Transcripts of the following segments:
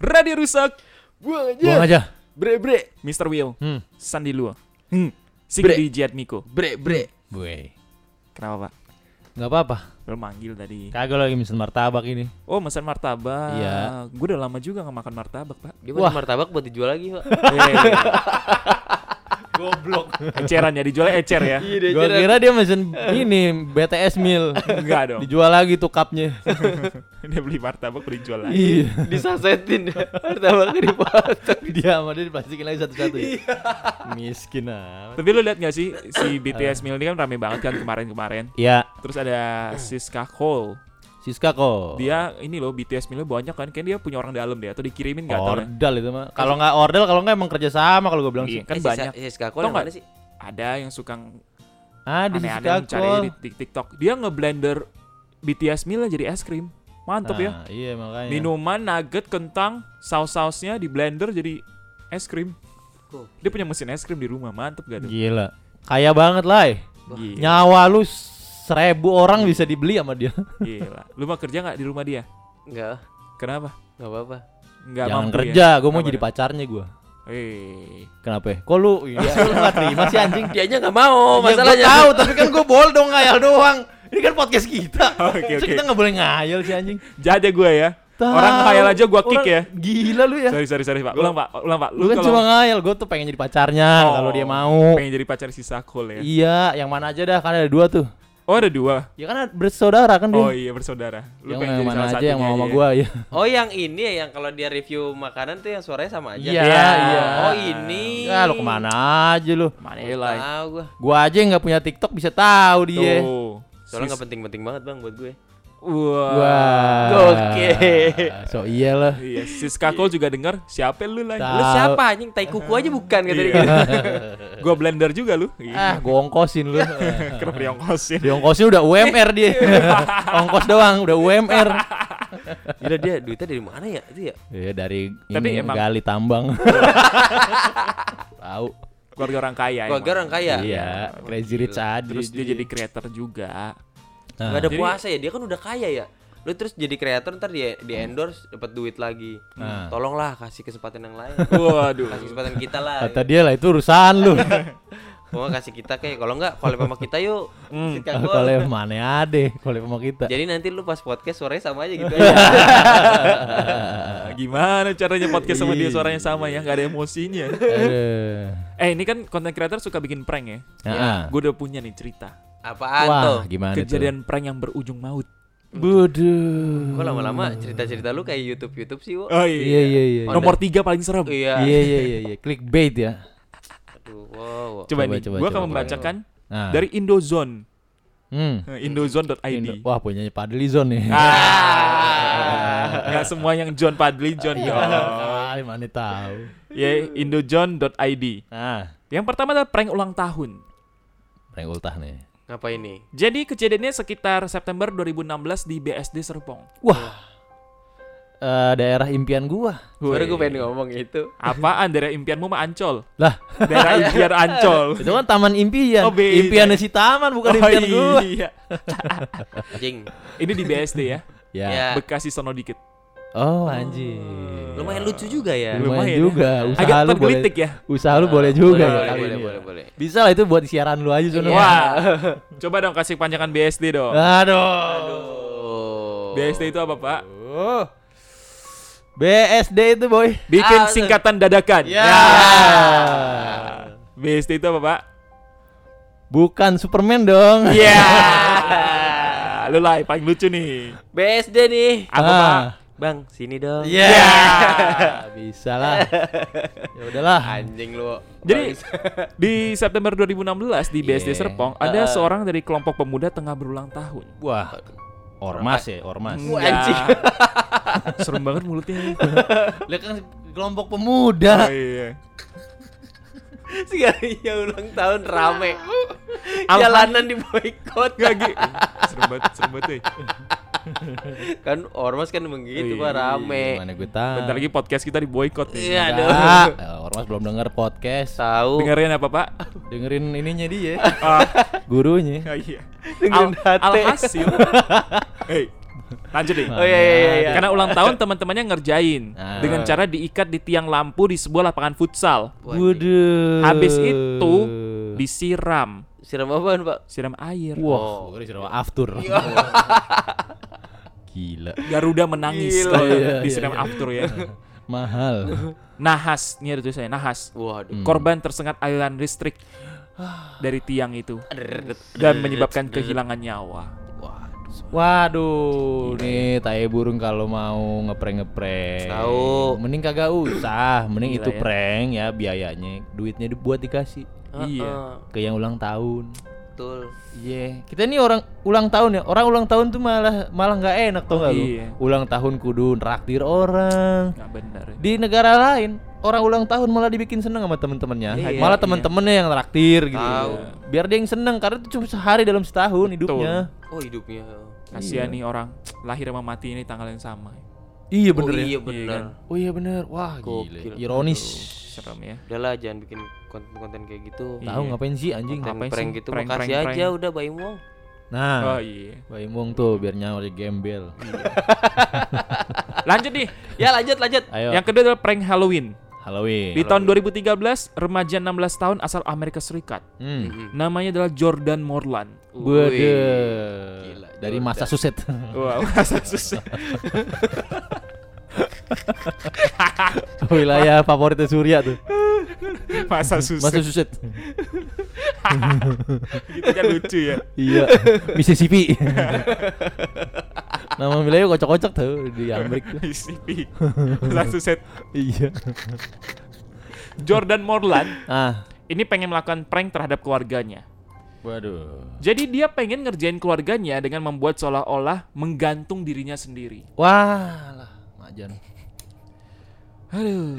dia rusak. Buang aja. Buang aja. Bre bre. Mr. Will. Hmm. Sandi Lua. Hmm. Sigdi Bre. Jiat Miko. Bre bre. Gue. Kenapa, Pak? Gak apa-apa. Lo manggil tadi. Kagak lagi mesen martabak ini. Oh, pesan martabak. Iya. Gue udah lama juga gak makan martabak, Pak. Iya, Dia Wah. buat martabak buat dijual lagi, Pak. Goblok. Eceran ya dijualnya ecer ya. Iya, dia Gue aja kira dia mesen ini BTS meal. Enggak dong. Dijual lagi tuh cupnya. Dia beli martabak beli jual lagi. Iya. disasetin martabak dipotong. dia sama dia diplastikin lagi satu-satu ya. Iya. Miskin amat. Tapi lo lihat gak sih si BTS Meal ini kan rame banget kan kemarin-kemarin. Ya, Terus ada Siska Cole. Siska kok. Dia ini loh BTS Meal banyak kan. Kayaknya dia punya orang dalam deh atau dikirimin gak tau. ya. Ordal itu mah. Kalau nggak ordal, kalau nggak emang kerja sama kalau gue bilang sih. Iya, kan Eh, si banyak. Sa- Si Skakol Tau yang nggak? mana sih? Ada yang suka Ah, di aneh-aneh Siska mencari di tik- TikTok. Dia ngeblender BTS Meal jadi es krim. Mantep ya. Iya makanya. Minuman, nugget, kentang, saus-sausnya di blender jadi es krim. Kok. Dia punya mesin es krim di rumah, mantep gak tuh? Gila. Kaya banget lah. Iya. eh. Gila. Nyawa lu seribu orang bisa dibeli sama dia. Gila. Lu mah kerja nggak di rumah dia? Enggak, Kenapa? enggak apa-apa. Nggak Jangan mampu kerja, ya? gue mau Kenapa jadi ya? pacarnya gue. Eh, Kenapa? ya? Kok lu? Iya, lu nggak terima sih anjing? Oh, Dia aja enggak mau Ya, gua masalahnya. tahu, tapi kan gue bohong dong ngayal doang. Ini kan podcast kita. Oke, Masa oke. Kita nggak boleh ngayal sih anjing. Jaja gue ya. Orang Tahu. khayal aja gua kick ya. Orang- Gila lu ya. Sorry, sorry, sorry, Pak. Ulang, Pak. Ulang, Pak. Lu kan kalau cuma ngayal, gue tuh pengen jadi pacarnya Oh, kalau dia mau. pengen jadi pacar si Sakul ya. Iya, yang mana aja dah kan ada dua tuh. Oh, ada dua. Ya kan ada- bersaudara kan dia. Oh iya, bersaudara. Lu yang pengen yang jadi mana salah aja yang satunya mau sama ya. gue ya. Oh, yang ini ya yang kalau dia review makanan tuh yang suaranya sama aja. Iya, iya. Oh, ini. Eh, Ya lu kemana aja lu. Mana ya, Lai? Tahu gua. Gua aja yang nggak punya TikTok bisa tahu dia. Tuh. Soalnya Sis- enggak penting-penting banget, Bang, buat gue. Wah. Wah. Oke. So iyalah. Iya, Sis Kakul juga denger. Siapa lu lah? Ta- Lu Tahu. Iya. siapa anjing? Tai kuku aja bukan kata dia. gitu. Gua blender juga lu. Iya. Ah, gua ongkosin lu. Kenapa diongkosin? Diongkosin udah UMR dia. Iya. Ongkos doang, udah UMR. Gila dia duitnya dari mana ya? Itu ya. Iya dari Tapi ini emang- Iya. gali tambang. Tahu. Keluarga orang kaya. Keluarga emang. orang kaya. Iya, Crazy Rich aja. Terus dia jadi creator juga. Nah. Gak ada Jadi- puasa ya, dia kan udah kaya ya. Lu terus jadi kreator ntar di, di endorse dapat duit lagi. Nah. Tolonglah kasih kesempatan yang lain. Waduh. kasih kesempatan kita lah. Kata dia lah itu urusan lu. Mau kasih kita kayak kalau enggak kalau sama kita yuk. Sikat gol. Hmm, Kalau yang mana ade, kalau sama kita. Jadi nanti lu pas podcast suaranya sama aja gitu. Iya. aja. Ah, gimana caranya podcast sama dia suaranya sama ya? Gak ada emosinya. Aduh. Eh ini kan konten creator suka bikin prank ya. Nah, Gue udah punya nih cerita. Apaan tuh? Wah, gimana Kejadian prank yang berujung maut. tuh? Buduh. Kok lama-lama cerita-cerita lu kayak YouTube-YouTube sih, Wo? Oh Iya iya iya. Oh, Nomor tiga paling serem. Iya. Iya iya iya iya. Clickbait ya. Aduh, wow. wow. Coba, Coba, nih, coba, gue coba, akan membacakan Nah. dari Indozone. hmm. Eh, Indozone.id. Indo- Wah, punyanya Padli Zone nih. Ah, nggak semua yang John Padli John yo. Ah, mana tahu. Ya Indozone.id. Ah, Yang pertama adalah prank ulang tahun. prank ultah nih. Ngapain nih? Jadi kejadiannya sekitar September 2016 di BSD Serpong. Wah. Eh, daerah impian gua. Baru gue Weh. pengen ngomong itu. Apaan daerah impianmu mah Ancol? Lah, Daerah impian Ancol. itu kan taman impian. Oh, beda. impiannya si taman bukan Oh, impian gua. iya. Anjing. Ini di BSD ya. Ya. Ya. Bekasi sono dikit. Oh, anjing. Lumayan Iya. lucu juga ya. Lumayan Lumayan ya. juga. Usaha Agak lu boleh. tergelitik ya. Usaha lu boleh juga Ah, boleh, ya boleh, kali boleh, ini. boleh, boleh. Bisa lah itu buat siaran lu aja ya. sono. Wah. Coba dong kasih panjangan BSD dong. Ah. Aduh. Oh. BSD itu apa, Pak? Aduh. BSD itu, boy. Bikin Ah, singkatan dadakan. Ya. Iya. BSD itu apa, Pak? Bukan Superman dong. Ya. Lu lah yang paling lucu nih. BSD nih. Apa, Ah. Pak? Bang, sini dong. Ya. Bisa lah. Ya udahlah. Anjing lu. Jadi Bang. di September 2016 di BSD Iya. Serpong ada seorang dari kelompok pemuda tengah berulang tahun. Iya. Wah. Ormas ya, ormas. Wah, anjing. Serem banget mulutnya. Lihat kan kelompok Oh, pemuda. iya. Sekalinya ya ulang tahun rame. Alham- Jalanan di boykot. Gak gi. Serem banget, serem banget. eh. Kan ormas kan begitu Pak rame. Mana gue tahu. Bentar lagi podcast kita di boykot nih. Iya aduh. Ah, eh, ormas belum denger podcast. Tahu. Dengerin apa, Pak? Dengerin ininya dia, Ah, gurunya. iya. Oh, Dengerin Al HT. alhasil. Hei. Lanjut deh. Oh iya iya iya, iya. Ah. Karena ulang tahun teman-temannya ngerjain Nah. dengan cara diikat di tiang lampu di sebuah lapangan futsal. Waduh. Waduh. Habis itu disiram, Siram apaan, Pak? siram air. Wah, gue disiram Oh, aftur. Gila. Garuda menangis Gila. kalau Iya, disiram iya, iya. aftur ya. Mahal. Nahas, ini ada tulisannya nahas. Waduh. Korban tersengat aliran listrik dari tiang itu dan menyebabkan kehilangan nyawa. Waduh. Waduh, nih tai burung kalau mau ngeprank-ngeprank. Tahu. Mending kagak usah, mending Gila itu ya. prank ya biayanya. Duitnya dibuat dikasih Iya. ke yang ulang tahun. Betul. Iya, kita nih orang ulang tahun ya. Orang ulang tahun tuh malah malah nggak enak tau nggak lu? Iya. Oh, Ulang tahun kudu traktir orang. Nggak benar. ya. Di negara lain orang ulang tahun malah dibikin seneng sama temen-temennya. Iya, malah temen-temennya yang traktir gitu. Tahu. Biar dia yang seneng karena itu cuma sehari dalam setahun hidupnya. Oh, hidupnya. Kasihan nih orang lahir sama mati ini tanggal yang sama. Iya Oh, bener ya. iya kan? bener. Oh iya bener. Wah gila. Gokil. Ironis. Serem ya. Udah lah jangan bikin konten-konten kayak gitu. Iya. Tahu ngapain sih Konten. anjing? Konten Ngapain prank sih? gitu Prank, makasih prank, aja prank. udah Baim Wong. Oh Nah, iya. Baim Wong tuh biar nyari gembel. Hmm. Lanjut nih. Ya lanjut lanjut. Ayo. Yang kedua adalah prank Halloween. Halloween. Di tahun 2013, remaja 16 tahun asal Amerika Serikat. Hmm. Namanya adalah Jordan Morland. Bede. gila, Dari Jordan. masa suset. Wow, masa susah. Wilayah favoritnya Surya tuh. Masa susah. Masa suset. Gitu kan lucu ya. iya. Mississippi. Nama wilayah kocok-kocok tuh di Amerika. PCP. Masa susah. iya. Jordan Morland Ah. ini pengen melakukan prank terhadap keluarganya. Waduh. Jadi dia pengen ngerjain keluarganya dengan membuat seolah-olah menggantung dirinya sendiri. Wah lah, majan. Aduh.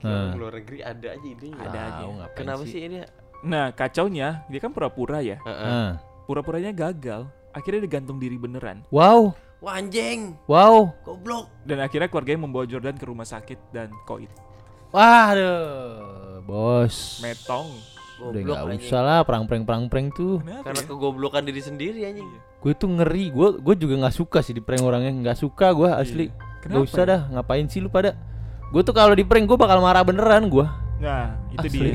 Nah. Luar negeri ada aja idenya. Ada aja. Tahu ngapain Kenapa sih ini? Nah, kacaunya dia kan pura-pura ya. Ah. Heeh. Pura-puranya gagal. Akhirnya dia gantung diri beneran. Wow, Wah anjing, wow. goblok. Dan akhirnya keluarganya membawa Jordan ke rumah sakit dan koit. Waduh, bos. Metong. Udah Goblok nggak anjing. usah lah perang-perang-perang-perang tuh. Kenapa Karena ya? kegoblokan diri sendiri anjing. Gue tuh ngeri, gue gue juga nggak suka sih di prank orangnya, nggak suka gue asli. Kenapa Gak usah ya? dah, ngapain sih lu pada? Gue tuh kalau di prank gue bakal marah beneran gue. Nah, itu Asli. dia.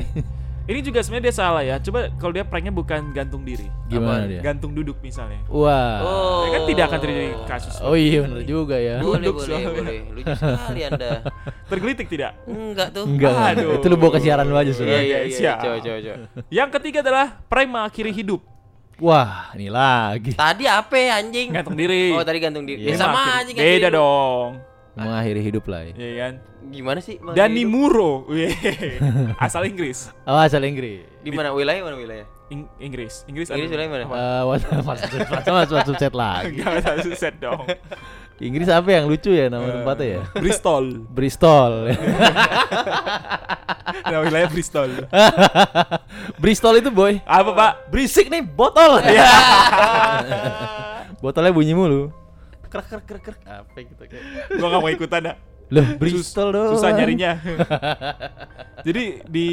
Ini juga sebenarnya dia salah ya. Coba kalau dia pranknya bukan gantung diri, Gimana Apaan? dia? gantung duduk misalnya. Wah. Ya kan tidak akan terjadi kasus. Oh iya bener juga ya. Oh. Boleh, Duduk boleh, soalnya. boleh. Lucu sekali Anda. Tergelitik tidak? Enggak tuh. Enggak, Aduh. itu lu bawa ke siaran lu aja Iya, sudah. iya, Iya, iya. siap. Coba, coba, coba. Yang ketiga adalah prank mengakhiri hidup. Wah, ini lagi Tadi apa ya, anjing? Gantung diri. Oh, tadi gantung diri. Iya. Ya sama Mengakhiri- aja gantung Beda diri. dong. mengakhiri hidup lah. Ya. Iya kan? Gimana sih? Bang? Dani Gitu. Muro. Weh. Asal Inggris. Oh, asal Inggris. di mana wilayah mana wilayah? Ing- Inggris. Inggris. aduh. Inggris wilayah mana? Eh, WhatsApp subset, WhatsApp WhatsApp subset lagi. Enggak usah set dong. Inggris apa yang lucu ya nama tempatnya ya? Bristol. Bristol. Nah, wilayah Bristol. Bristol itu boy. Apa, Pak? Berisik nih botol. Ya. Botolnya bunyi mulu. Krek krek krek krek. Apa gitu kayak. Gua gak mau ikutan dah. Loh, Sus- Bristol doang. Susah nyarinya. Jadi di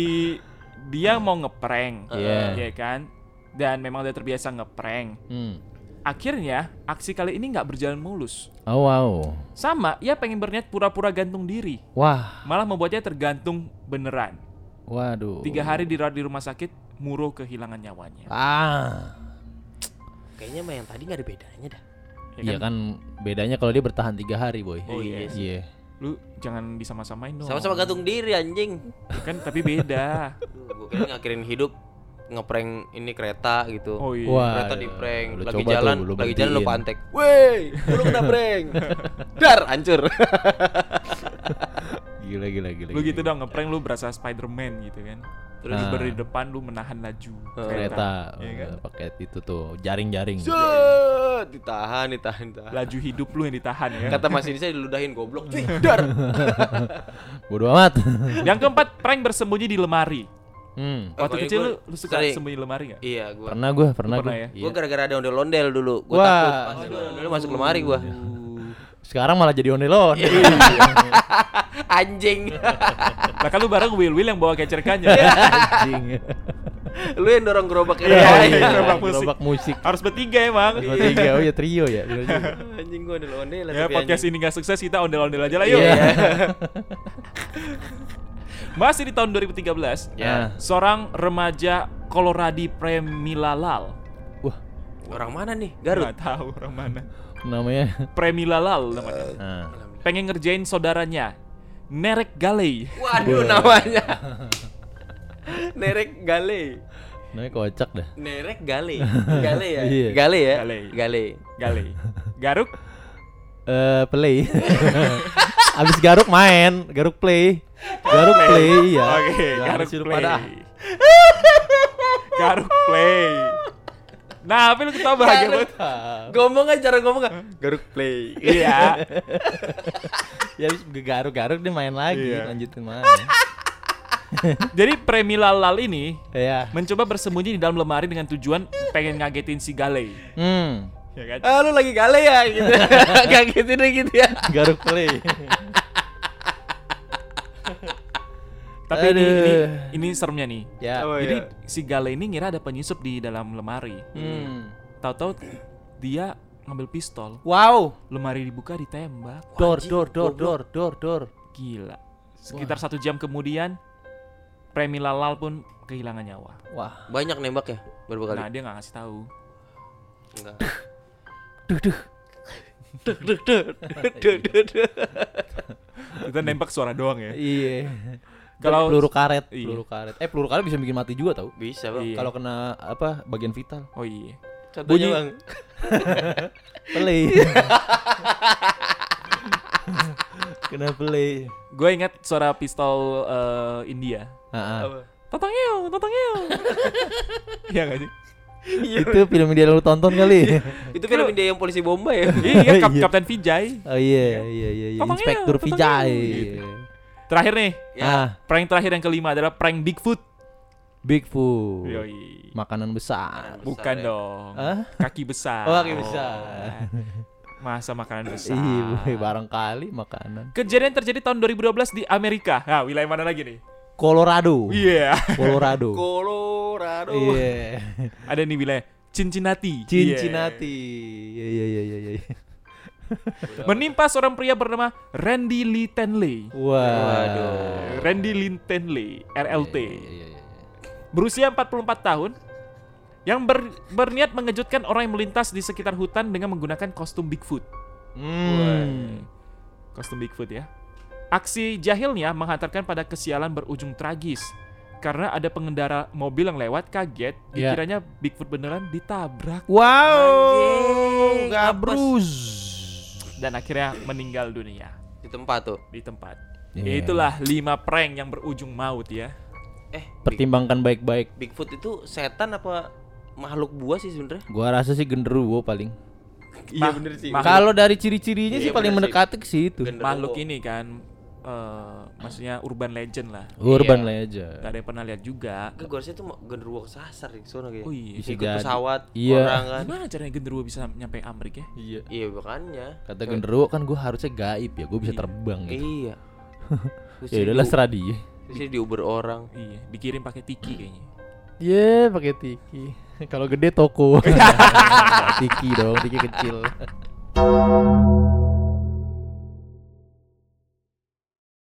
dia mau ngeprank, Iya. ya kan? Dan memang udah terbiasa ngeprank. Hmm. Akhirnya aksi kali ini nggak berjalan mulus. Oh, wow. Sama, ia pengen berniat pura-pura gantung diri, Wah, malah membuatnya tergantung beneran. waduh. Tiga hari dirawat di rumah sakit, Muro kehilangan nyawanya. Ah. Kayaknya mah yang tadi nggak ada bedanya dah. Ya Iya kan bedanya kalau dia bertahan tiga hari, boy. Oh iya. sih. Iya. Lu jangan disama-samain dong. Sama-sama gantung diri anjing. Kan tapi beda. Gue kira ngakhirin hidup ngeprank ini kereta gitu. Oh iya. Wah. kereta di prank Lu lagi coba tuh, jalan lu lagi jalan lu berhentiin. pantek weh lu kena prank dar hancur Gila gila gila. Lu gila. gitu dong ngeprank lu berasa Spider-Man gitu kan. Terus Nah. berdiri di depan lu menahan laju kereta Iya kan? eh, pakai itu tuh jaring-jaring. Set, ditahan ditahan ditahan Laju hidup lu yang ditahan ya. kata mas ini saya diludahin goblok Cuy, dar Bodoh amat. Yang keempat, prank bersembunyi di lemari. hmm. Waktu Oh, kalau kecil gua lu, lu suka sering. sembunyi di lemari nggak? iya gua Pernah gue, pernah, Pernah gue. ya? gua gara-gara ada ondel-ondel dulu gua Wah. takut pas ada ondel-ondel masuk lemari gua Sekarang malah jadi onelon. Iya. anjing Lah kan lu bareng Will Will yang bawa kecerkannya. Anjing. Lu yang dorong gerobak Iya, ya. iya, gerobak musik. Iya. gerobak musik. Harus bertiga emang. Dua tiga, oh ya trio ya. bener juga. Anjing gua ondel ondel Ya podcast ini gak sukses kita ondel-ondel aja lah yuk. Iya. Masih di tahun 2013, Ya. Nah, seorang remaja Koloradi Premilalal. Wah, Orang mana nih? Garut. Nggak tahu orang mana. namanya. Premilalal namanya. Eh. Nah. Pengen ngerjain saudaranya. Nerek Galei. Waduh namanya. Nerek Gale. Namanya kocak dah. Nerek Gale. Gale ya. Iya. Gale ya. Gale. Gale. Galei. Garuk Eh, play. Abis garuk main, garuk play. Garuk play iya. Oke, Jangan garuk sirup play. ada. garuk play. Nah, tapi lu ketawa bahagia banget. Garuk. Ah, Ngomong aja cara ngomong nggak? Garuk play. Iya. Ya abis garuk-garuk dia main lagi, Iya. lanjutin main. Jadi Premi Lalal ini Iya. mencoba bersembunyi di dalam lemari dengan tujuan pengen ngagetin si Galei. Hmm. Ya kan? Ah, lu lagi gale ya gitu. Gak gitu deh gitu ya. Garuk play. Tapi ini, ini Aduh. ini seremnya nih. ya. Oh, Jadi iya. si Galei ini ngira ada penyusup di dalam lemari. Hmm. Tahu-tahu dia ngambil pistol. Wow. Lemari dibuka ditembak. Dor Wajib, dor dor goblok. dor dor dor. Gila. Sekitar satu jam kemudian Premi Lalal pun kehilangan nyawa. Wah. Banyak nembak ya berapa Nah, kali? dia nggak ngasih tahu. Enggak. Duh duh. Duh, duh, duh, duh, duh, duh. Kita nembak suara doang ya. Iya. Kalau- Kalau peluru karet, Iya. peluru karet. Eh peluru karet bisa bikin mati juga tau. Bisa bang. Iya. Kalau kena apa bagian vital. Oh iya. Contohnya Bunyi- bang. Play. kena play. Gue ingat suara pistol eh, India. Ah, ah. Apa? Tatang eo, tatang eo. Iya gak sih? Iya. Itu film yang dia lu tonton kali. Itu film India yang polisi bomba ya. Iya, Kap- Iya. Kapten Vijay. oh iya iya iya iya. Tatangnya, Inspektur tatangnya, Vijay. Iya. gitu. Terakhir nih, Ah, prank terakhir yang kelima adalah prank Bigfoot. Bigfoot. Iya, Yoi. Makanan besar. Makanan Bukan besar ya. dong. Hah? Kaki besar. Oh, kaki besar. Masa makanan besar. Iya, barangkali makanan. Kejadian terjadi tahun 2012 di Amerika. Nah, wilayah mana lagi nih? Colorado. Iya. Colorado. Colorado. Iya. Ada nih wilayah Cincinnati. Cincinnati. Iya iya iya iya iya. Iya. Menimpa seorang pria bernama Randy Lee Tenley. Waduh. Randy Lee Tenley, RLT. Iya, iya, iya. berusia 44 tahun yang ber- berniat mengejutkan orang yang melintas di sekitar hutan dengan menggunakan kostum Bigfoot. Hmm. Kostum Bigfoot ya. Aksi jahilnya menghantarkan pada kesialan berujung tragis karena ada pengendara mobil yang lewat kaget Ya. Iya. dikiranya Bigfoot beneran ditabrak Wow. Anjing, Gabrus. dan akhirnya meninggal dunia Di tempat tuh. di tempat. Ya. Iya. Itulah 5 prank yang berujung maut ya. Eh, Big- Pertimbangkan baik-baik. Bigfoot itu setan apa makhluk buah sih sebenarnya? Gua rasa sih genderuwo paling. Iya, bener sih. Makhluk- Kalau dari ciri-cirinya sih Iya, paling bener sih. mendekati ke situ. Genderuwo. Makhluk ini kan eh, maksudnya urban legend lah. Urban Gak Iya. legend. ada yang pernah lihat juga. Gue rasa itu genderuwo kesasar di sono kayak. Oh iya. Bisa Ikut jadi. pesawat, Iya. orang kan. Gimana caranya genderuwo bisa nyampe Amrik ya? Iya. Iya makanya. Kata genderuwo kan gue harusnya gaib ya, gue bisa Iya. terbang gitu. Iya. Terus Ya udahlah di- serah dia. terus dia diuber orang. Iya, dikirim pakai tiki kayaknya. Ye, pakai tiki. Kalau gede toko. tiki dong, tiki kecil.